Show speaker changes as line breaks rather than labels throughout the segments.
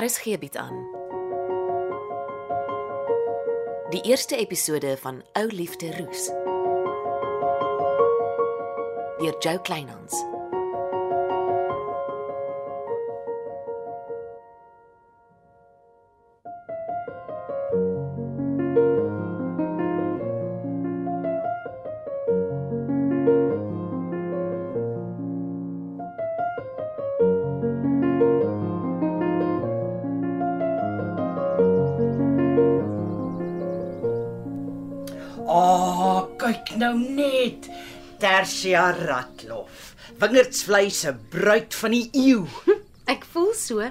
RSG bied Er aan. Die eerste episode van Ou Liefde Roos. Deur Jo Kleinhans.
Ah, oh, kyk nou net. Tersia Ratlof. Wingerdsvleis se bruid van die eeu.
Ek voel so.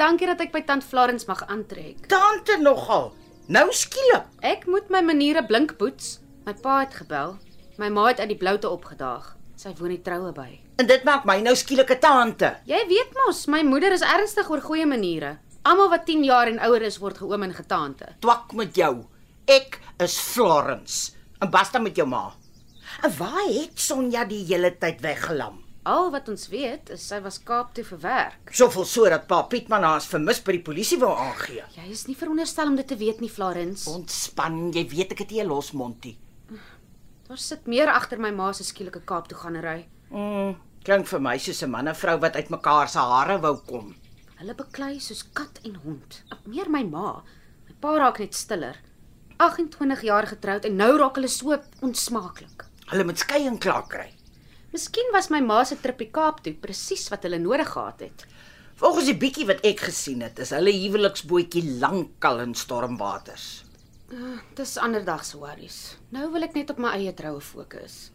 Dankie dat ek by tant Florence mag aantrek.
Tante nogal. Nou skielik.
Ek moet my maniere blink boets. My pa het gebel. My ma het uit die bloute opgedaag. Sy woon die troue by.
En dit maak my nou skielik 'n tante.
Jy weet mos, my moeder is ernstig oor goeie maniere. Almal wat 10 jaar en ouer is word geoom en getante.
Twak met jou. Ek is Florence. En basta met jou ma. En waar het Sonja die hele tyd weggelam?
Al wat ons weet is sy was Kaap toe vir werk.
Soveel so dat pa Pietman haar as vermis by die polisie wou aangee.
Jy is nie veronderstel om dit te weet nie, Florence.
Ontspan, jy weet ek het nie 'n los mondie.
Daar sit meer agter my ma se skielike Kaap toe ganery.
Mm, klink vir my soos 'n man en vrou wat uit mekaar se hare wou kom.
Hulle beklei soos kat en hond. Meer my ma. My pa raak net stiller. 28 jaar getroud en nou raak hulle so onsmaaklik.
Hulle moet skei en klaar kry.
Miskien was my ma se trip die Kaap toe presies wat hulle nodig gehad het.
Volgens die bietjie wat ek gesien het, is hulle huweliksbootjie lankal in stormwaters.
Eh, Dis anderdag se worries. Nou wil ek net op my eie troue fokus.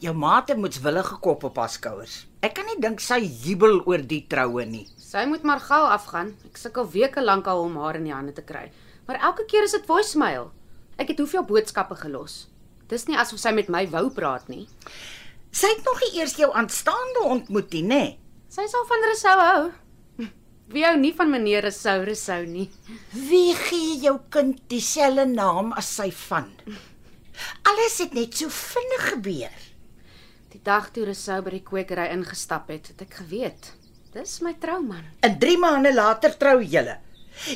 Jou maate moets willige kop op haar skouers. Ek kan nie dink sy jubel oor die troue nie.
Sy moet maar gou afgaan. Ek sukkel weke lank al om haar in die hande te kry. Maar elke keer is dit voicemail. Ek het hoeveel boodskappe gelos. Dis nie asof sy met my wou praat nie.
Sy het nog nie eers jou aanstaande ontmoet nie, nê?
Sy sal van Resou hou. Wie hou nie van meneer Resou Resou nie.
Wie gee jou kind dieselfde naam as sy van? Alles het net so vinnig gebeur.
Die dag toe Resou by die kwekery ingestap het, het ek geweet. Dis my trouman.
En 3 maande later trou julle.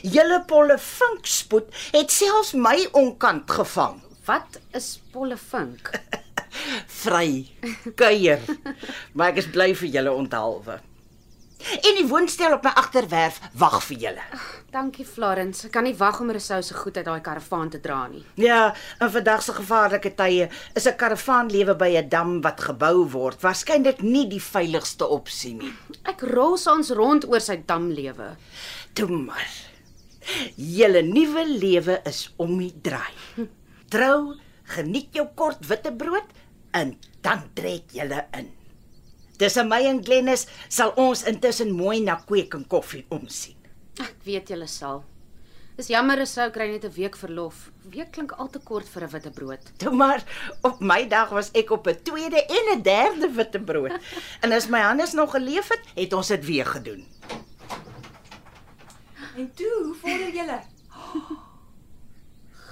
Julle polle vinkspoed het selfs my onkant gevang.
Wat is Pollefink?
Vry, kuier. maar ek is bly vir julle onthaalwe. En die woonstel op my agterwerf wag vir julle.
Dankie Florence. Ek kan nie wag om Resou se goed uit daai karavaan te dra nie.
Ja, in vandag se gevaarlike tye is 'n karavaanlewe by 'n dam wat gebou word waarskynlik nie die veiligigste opsie nie.
Ek rol soms rond oor sy damlewe.
Toe maar. Julle nuwe lewe is om die draai. Trou, geniet jou kort witbrood en dan trek julle in. Tussen my en Glennis sal ons intussen mooi na kweek en koffie omsien.
Ek weet julle sal. Dis jammer Resou kry net 'n week verlof. Week klink al te kort vir 'n witbrood.
Toe maar op my dag was ek op 'n tweede en 'n derde witbrood. En as my Hannes nog geleef het, het ons dit weer gedoen.
En toe, hoe vorder julle?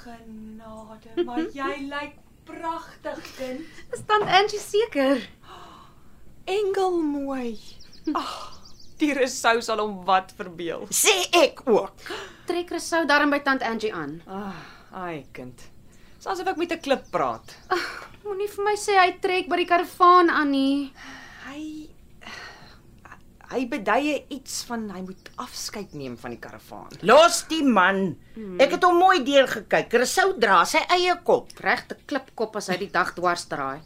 Genade, maar jy lyk pragtig, kind.
Is dan Angie seker?
Engel mooi. Ag, die resou sal hom wat verbeel.
Sê ek ook.
Trek Resou daarin by tant Angie aan.
Ag, Ah, ai kind. Soos asof ek met 'n klip praat.
Moenie vir my sê hy trek by die karavaan aan nie.
Hy hy beduie iets van hy moet afskeid neem van die karavaan.
Los die man. Ek het hom mooi deurgekyk. Resou dra sy eie kop.
Regte klipkop as hy die dag dwars draai.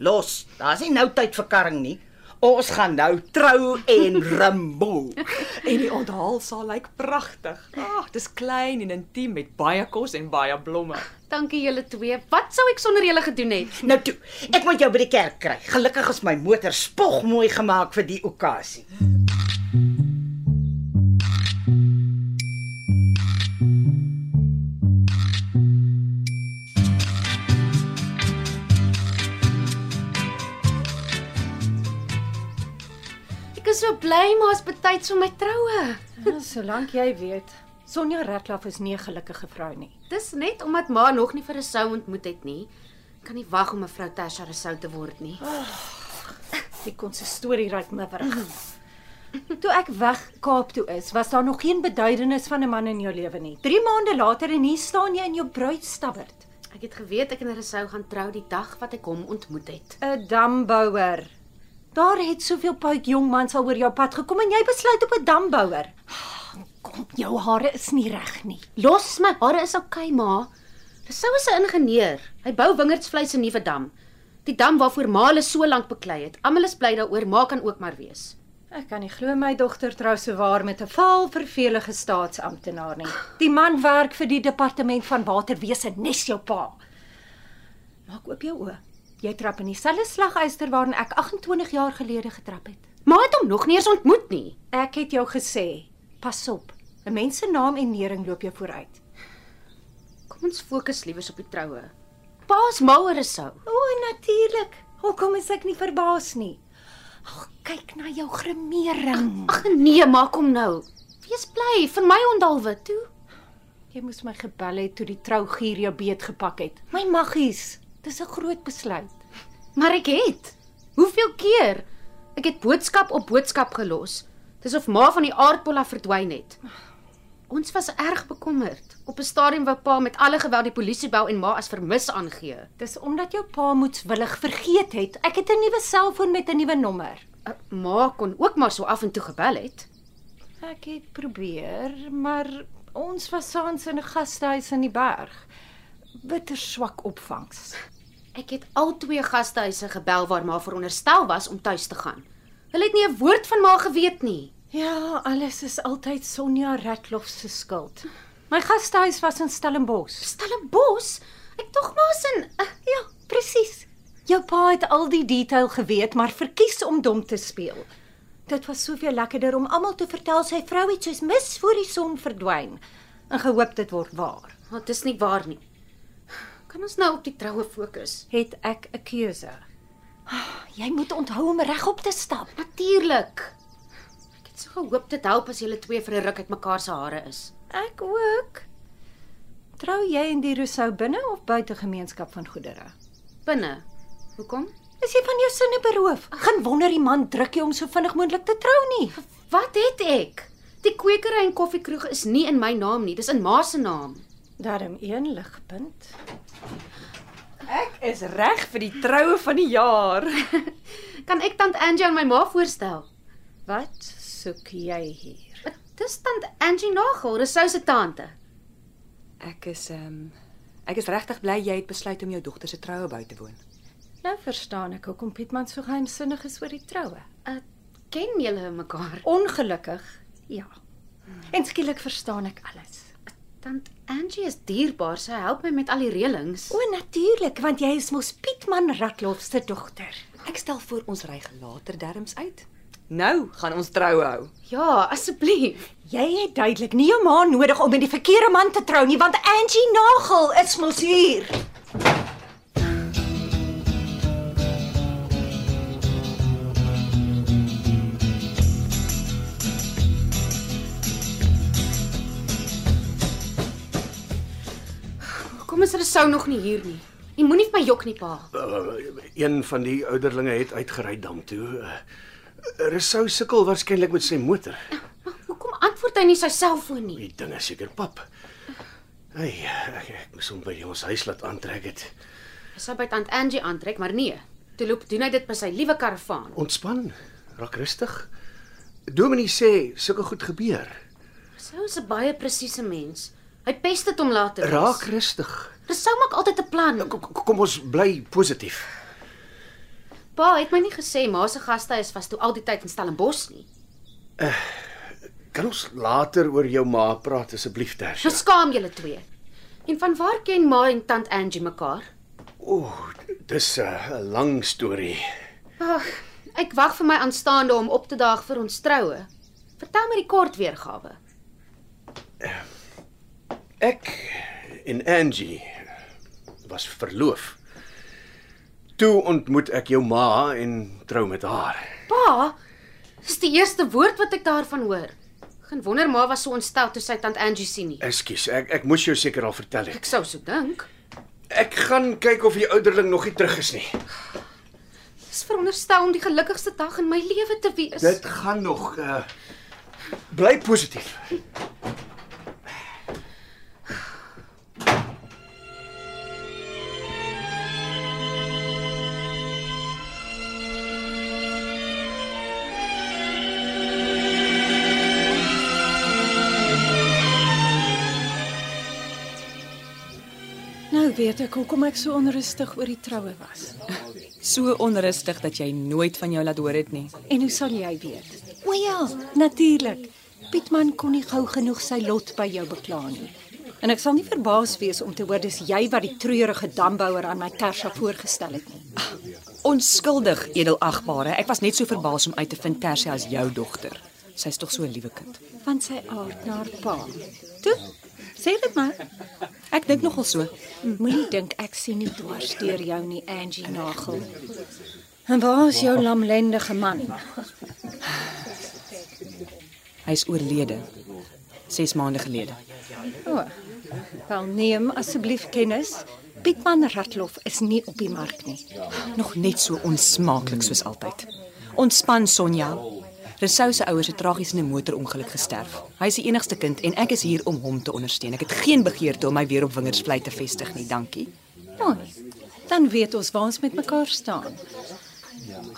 Los. Daar's nie nou tyd vir karring nie. Ons gaan nou trou en rumboel.
En die onthaalsaal lyk pragtig. Ag, dis klein en intiem met baie kos en baie blomme.
Dankie julle twee. Wat sou ek sonder julle gedoen het?
Nou toe, ek moet jou by die kerk kry. Gelukkig is my motor spog mooi gemaak vir die okasie.
Ek is so bly maar's betyds vir my troue.
Ja, solank jy weet, Sonja Ratloff is nie 'n gelukkige vrou nie.
Dis net omdat ma nog nie vir 'n sou ontmoet het nie. Ek Kan nie wag om mevrou Tasha Resou te word nie.
Die konsistorie ryk miwerig. Toe ek weg Kaap toe is, was daar nog geen beduidenis van 'n man in jou lewe nie. 3 maande later en hier staan jy in jou bruidstabbert.
Ek het geweet ek en Resou gaan trou die dag wat ek hom ontmoet het.
'n Dambouer. Daar het soveel puik jong mans al oor jou pad gekom en jy besluit op 'n dambouer. Kom, jou hare is nie reg nie.
Los my hare is oukei, okay, ma. Resou is 'n ingenieur. Hy bou wingerdsvleis in Nuwe Dam. Die dam waarvoor ma hulle so lank beklei het. Almal is bly daaroor, ma kan ook maar wees.
Ek kan nie glo my dogter trou sowaar met 'n vaal vervelige staatsamptenaar nie. Die man werk vir die departement van waterwese, nes jou pa. Maak oop jou oë. Jy trap in dieselfde slaguister waarin ek 28 jaar gelede getrap het.
Ma het hom nog nie eens ontmoet nie.
Ek het jou gesê, pas op. 'n Mens se naam en nering loop jou vooruit.
Kom ons fokus liewers op die troue. Pa's ma oor Resou.
O, natuurlik. Hoekom is ek nie verbaas nie? Ag, kyk na jou grimering.
Ag nee, maak hom nou. Wees bly vir my ondalwe toe.
Jy moes my gebel het toe die trougier jou beet gepak het. My maggies, dis 'n groot besluit.
Maar ek het. Hoeveel keer? Ek het boodskap op boodskap gelos. Dis of ma van die aardpol af verdwyn het. Ons was erg bekommerd. Op 'n stadium wou pa met alle geweld die polisie bel en ma as vermis aangee.
Dis omdat jou pa moetswillig vergeet het. Ek het 'n nuwe selfoon met 'n nuwe nommer.
Uh, Ma kon ook maar so af en toe gebel het.
Ek het probeer, maar ons was saans in 'n gastehuis in die berg. Bitter swak opvangs.
Ek het al twee gastehuise gebel waar ma veronderstel was om tuis te gaan. Hulle het nie 'n woord van ma geweet nie.
Ja, alles is altyd Sonja Ratlof se skuld. My gastehuis was in Stellenbosch.
Stellenbos? Ek tog ma's in uh,
Ja, presies. Jou pa het al die detail geweet, maar verkies om dom te speel. Dit was soveel lekkerder om almal te vertel sy vrou het soos mis voor die son verdwyn en gehoop dit word waar.
Maar dis nie waar nie. Kan ons nou op die troue fokus?
Het ek 'n keuse? Ah, Jy moet onthou om regop te stap.
Natuurlik. Ek het so gehoop dit help as julle twee vir 'n ruk uit mekaar se hare is.
Ek ook. Trou jy in die Rousseau binne of buite gemeenskap van goedere?
Binne. Hoekom?
Is jy van jou sinne beroof? Geen wonder die man druk jou om so vinnig moontlik te trou nie.
Wat het ek? Die kwekery en koffiekroeg is nie in my naam nie, dis in ma se naam.
Daarom een ligpunt.
Ek is reg vir die troue van die jaar.
Kan ek tant Angie aan my ma voorstel?
Wat soek jy hier?
Dis tant Angie Nagel, Resou se tante.
Ek is ehm um, ek is regtig bly jy het besluit om jou dogter se troue by te woon.
Nou verstaan ek hoekom Pietman so geheimsinnig is oor die troue.
Uh, ken julle mekaar?
Ongelukkig, ja. En skielik verstaan ek alles.
Tant Angie is dierbaar. Sy help my met al die reëlings.
O, natuurlik, want jy is mos Pietman Ratlof se dogter.
Ek stel voor ons ry later derms uit. Nou gaan ons troue hou.
Ja, asseblief.
Jy het duidelik nie jou ma nodig om met die verkeerde man te trou nie, want Angie Nagel is mos hier.
Hoekom is Resou nog nie hier nie? Jy moenie vir my jok nie, pa.
Uh, een van die ouderlinge het uitgery dam toe. Uh, Resou sukkel waarskynlik met sy motor.
Maar hoekom antwoord hy nie sy selfoon nie?
Die ding is seker pap. Hey, ek, ek moes hom by ons huis laat aantrek het.
Hy sou by tant Angie aantrek, maar nee. Toe loop doen hy dit by sy liewe karavaan.
Ontspan, raak rustig. Dominee sê sulke goed gebeur.
Resou is 'n baie presiese mens. Hy pest dit om later. is.
Raak rustig.
Resou maak altyd 'n plan.
Kom, kom- kom ons bly positief.
Pa het my nie gesê ma se gastehuis was toe al die tyd in Stellenbosch nie.
Kan ons later oor jou ma praat asseblief,
So
Tersia?
skaam julle twee. En vanwaar ken ma en tant Angie mekaar?
Ooh, dis 'n uh, lang storie.
Ag, ek wag vir my aanstaande om op te daag vir ons troue. Vertel my die kort weergawe.
Ek en Angie was verloof. Toe ontmoet ek jou ma en trou met haar.
Pa, dis die eerste woord wat ek daarvan hoor. Geen wonder ma was so ontstel toe sy tant Angie sien nie.
Ekskuus, ek ek moes jou seker al vertel
Ek
het.
sou so dink.
Ek gaan kyk of die ouderling nog nie terug is nie.
is veronderstel om die gelukkigste dag in my lewe te wees.
Dit gaan nog. Uh bly positief.
Nou weet ek hoekom ek so onrustig oor die troue was.
So onrustig dat jy nooit van jou laat hoor het nie.
En hoe sal jy weet? O ja, natuurlik. Pietman kon nie gou genoeg sy lot by jou bekla nie. En ek sal nie verbaas wees om te hoor dis jy wat die treurige dambouer aan my Tersha voorgestel het nie.
Onskuldig, edelagbare. Ek was net so verbaas om uit te vind Tersia is jou dogter. Sy's tog so 'n liewe kind.
Van sy aard na haar pa. Toe, sê dit maar.
Ek dink nogal so.
Moenie dink ek sien nie dwars deur jou nie, Angie Nagel. En waar is jou lamlendige man?
Hy's oorlede 6 maande gelede.
O. Wel neem asseblief kennis. Pietman Ratlof is nie op die mark nie.
Nog net so onsmaaklik soos altyd. Ontspan Sonja. Resou se ouers het tragies in 'n motorongeluk gesterf. Hy is die enigste kind en ek is hier om hom te ondersteun. Ek het geen begeerte om my weer op wingerdsvlei te vestig nie, dankie.
Mooi. Dan weet ons waar ons met mekaar staan.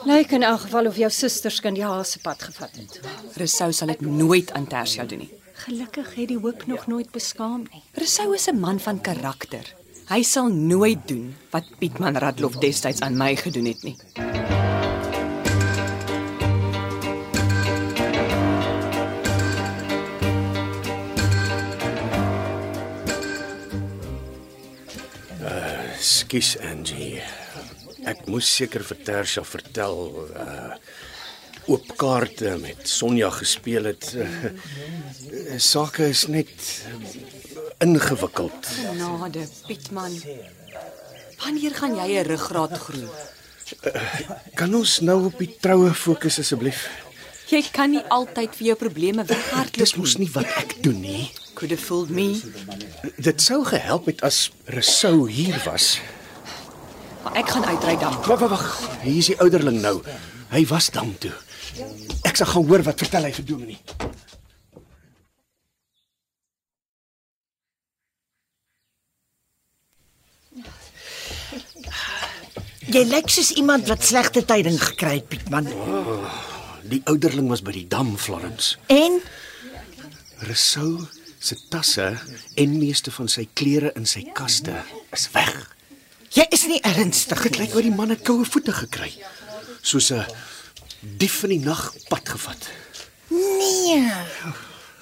Lyk in elk geval of jou susterskind die haasepad gevat het.
Resou sal dit nooit aan Tersia doen nie.
Gelukkig het die hoop nog nooit beskaam nie.
Resou is 'n man van karakter. Hy sal nooit doen wat Pietman Radloff destyds aan my gedoen het nie.
Ekskuus Angie. Ek moes seker vir Tersha vertel uh oop kaarte met Sonja gespeel het. Uh, sake is net ingewikkeld.
Genade, Pietman. Wanneer gaan jy 'n ruggraat groei?
Kan ons nou op die troue fokus asseblief?
Jy kan nie altyd vir jou probleme weghardloop
Dis mos nie wat ek doen nie.
Could have fooled me.
Dit sou gehelp het as Resou hier was.
Maar ek gaan uitry dan.
Wag, wag, wag. Hier is die ouderling nou. Hy was dam toe. Ek sal gaan hoor wat vertel hy vir Dominee.
Jy lyk soos iemand wat slegte tyding gekry het, Pietman.
Die ouderling was by die dam Florence.
En
Resou se tasse en meeste van sy klere in sy kaste is weg.
jy is nie ernstig
Dit lyk oor die man het koue voete gekry. Soos 'n dief in die nag pad gevat.
nie.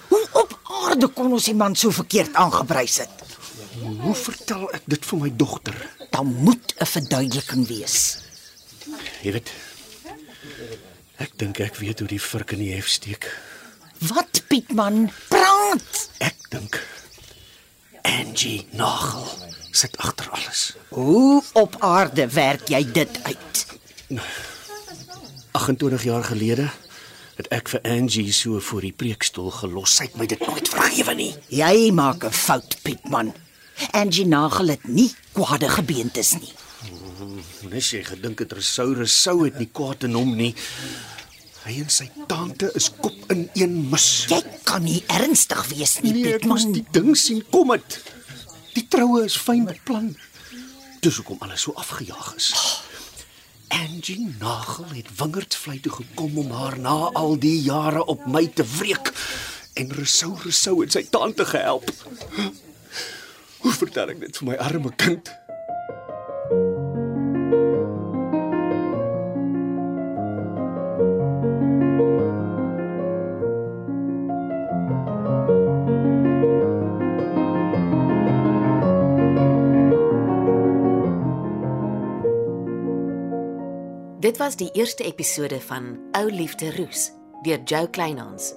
Hoe op aarde kon ons die man so verkeerd aangeprys het?
Hoe vertel ek dit vir my dogter?
Daar moet 'n verduideliking wees.
Jy weet. Ek dink ek weet hoe die vurk in die hef steek.
Wat, Pietman? Praat.
Ek dink Angie Nagel sit agter alles.
Hoe op aarde werk jy dit uit?
28 jaar gelede het ek vir Angie so voor die preekstoel gelos. Sy het my dit nooit vergewe nie.
Jy maak 'n fout, Pietman. Angie Nagel het nie kwade gebeentes nie.
Nes jy gedink het Resourus sou dit nie kwaad in hom nie. Hy en sy tante is kop in een mis.
Jy kan nie ernstig wees nie,
nee, ek moes
Pietman.
die ding sien kom dit. Die troue is fyn beplan. Dis hoekom alles so afgejaag is. Angie Nagel het wingerdsvlei toe gekom om haar na al die jare op my te wreek en Resou Resou het sy tante gehelp. Hoe vertel ek dit vir my arme kind?
Dit was die eerste episode van Ou Liefde Roos deur Jo Kleinhans.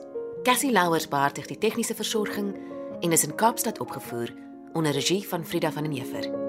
Cassie Louwers beheer die tegniese versorging en is in Kaapstad opgevoer onder regie van Frida van den Heever.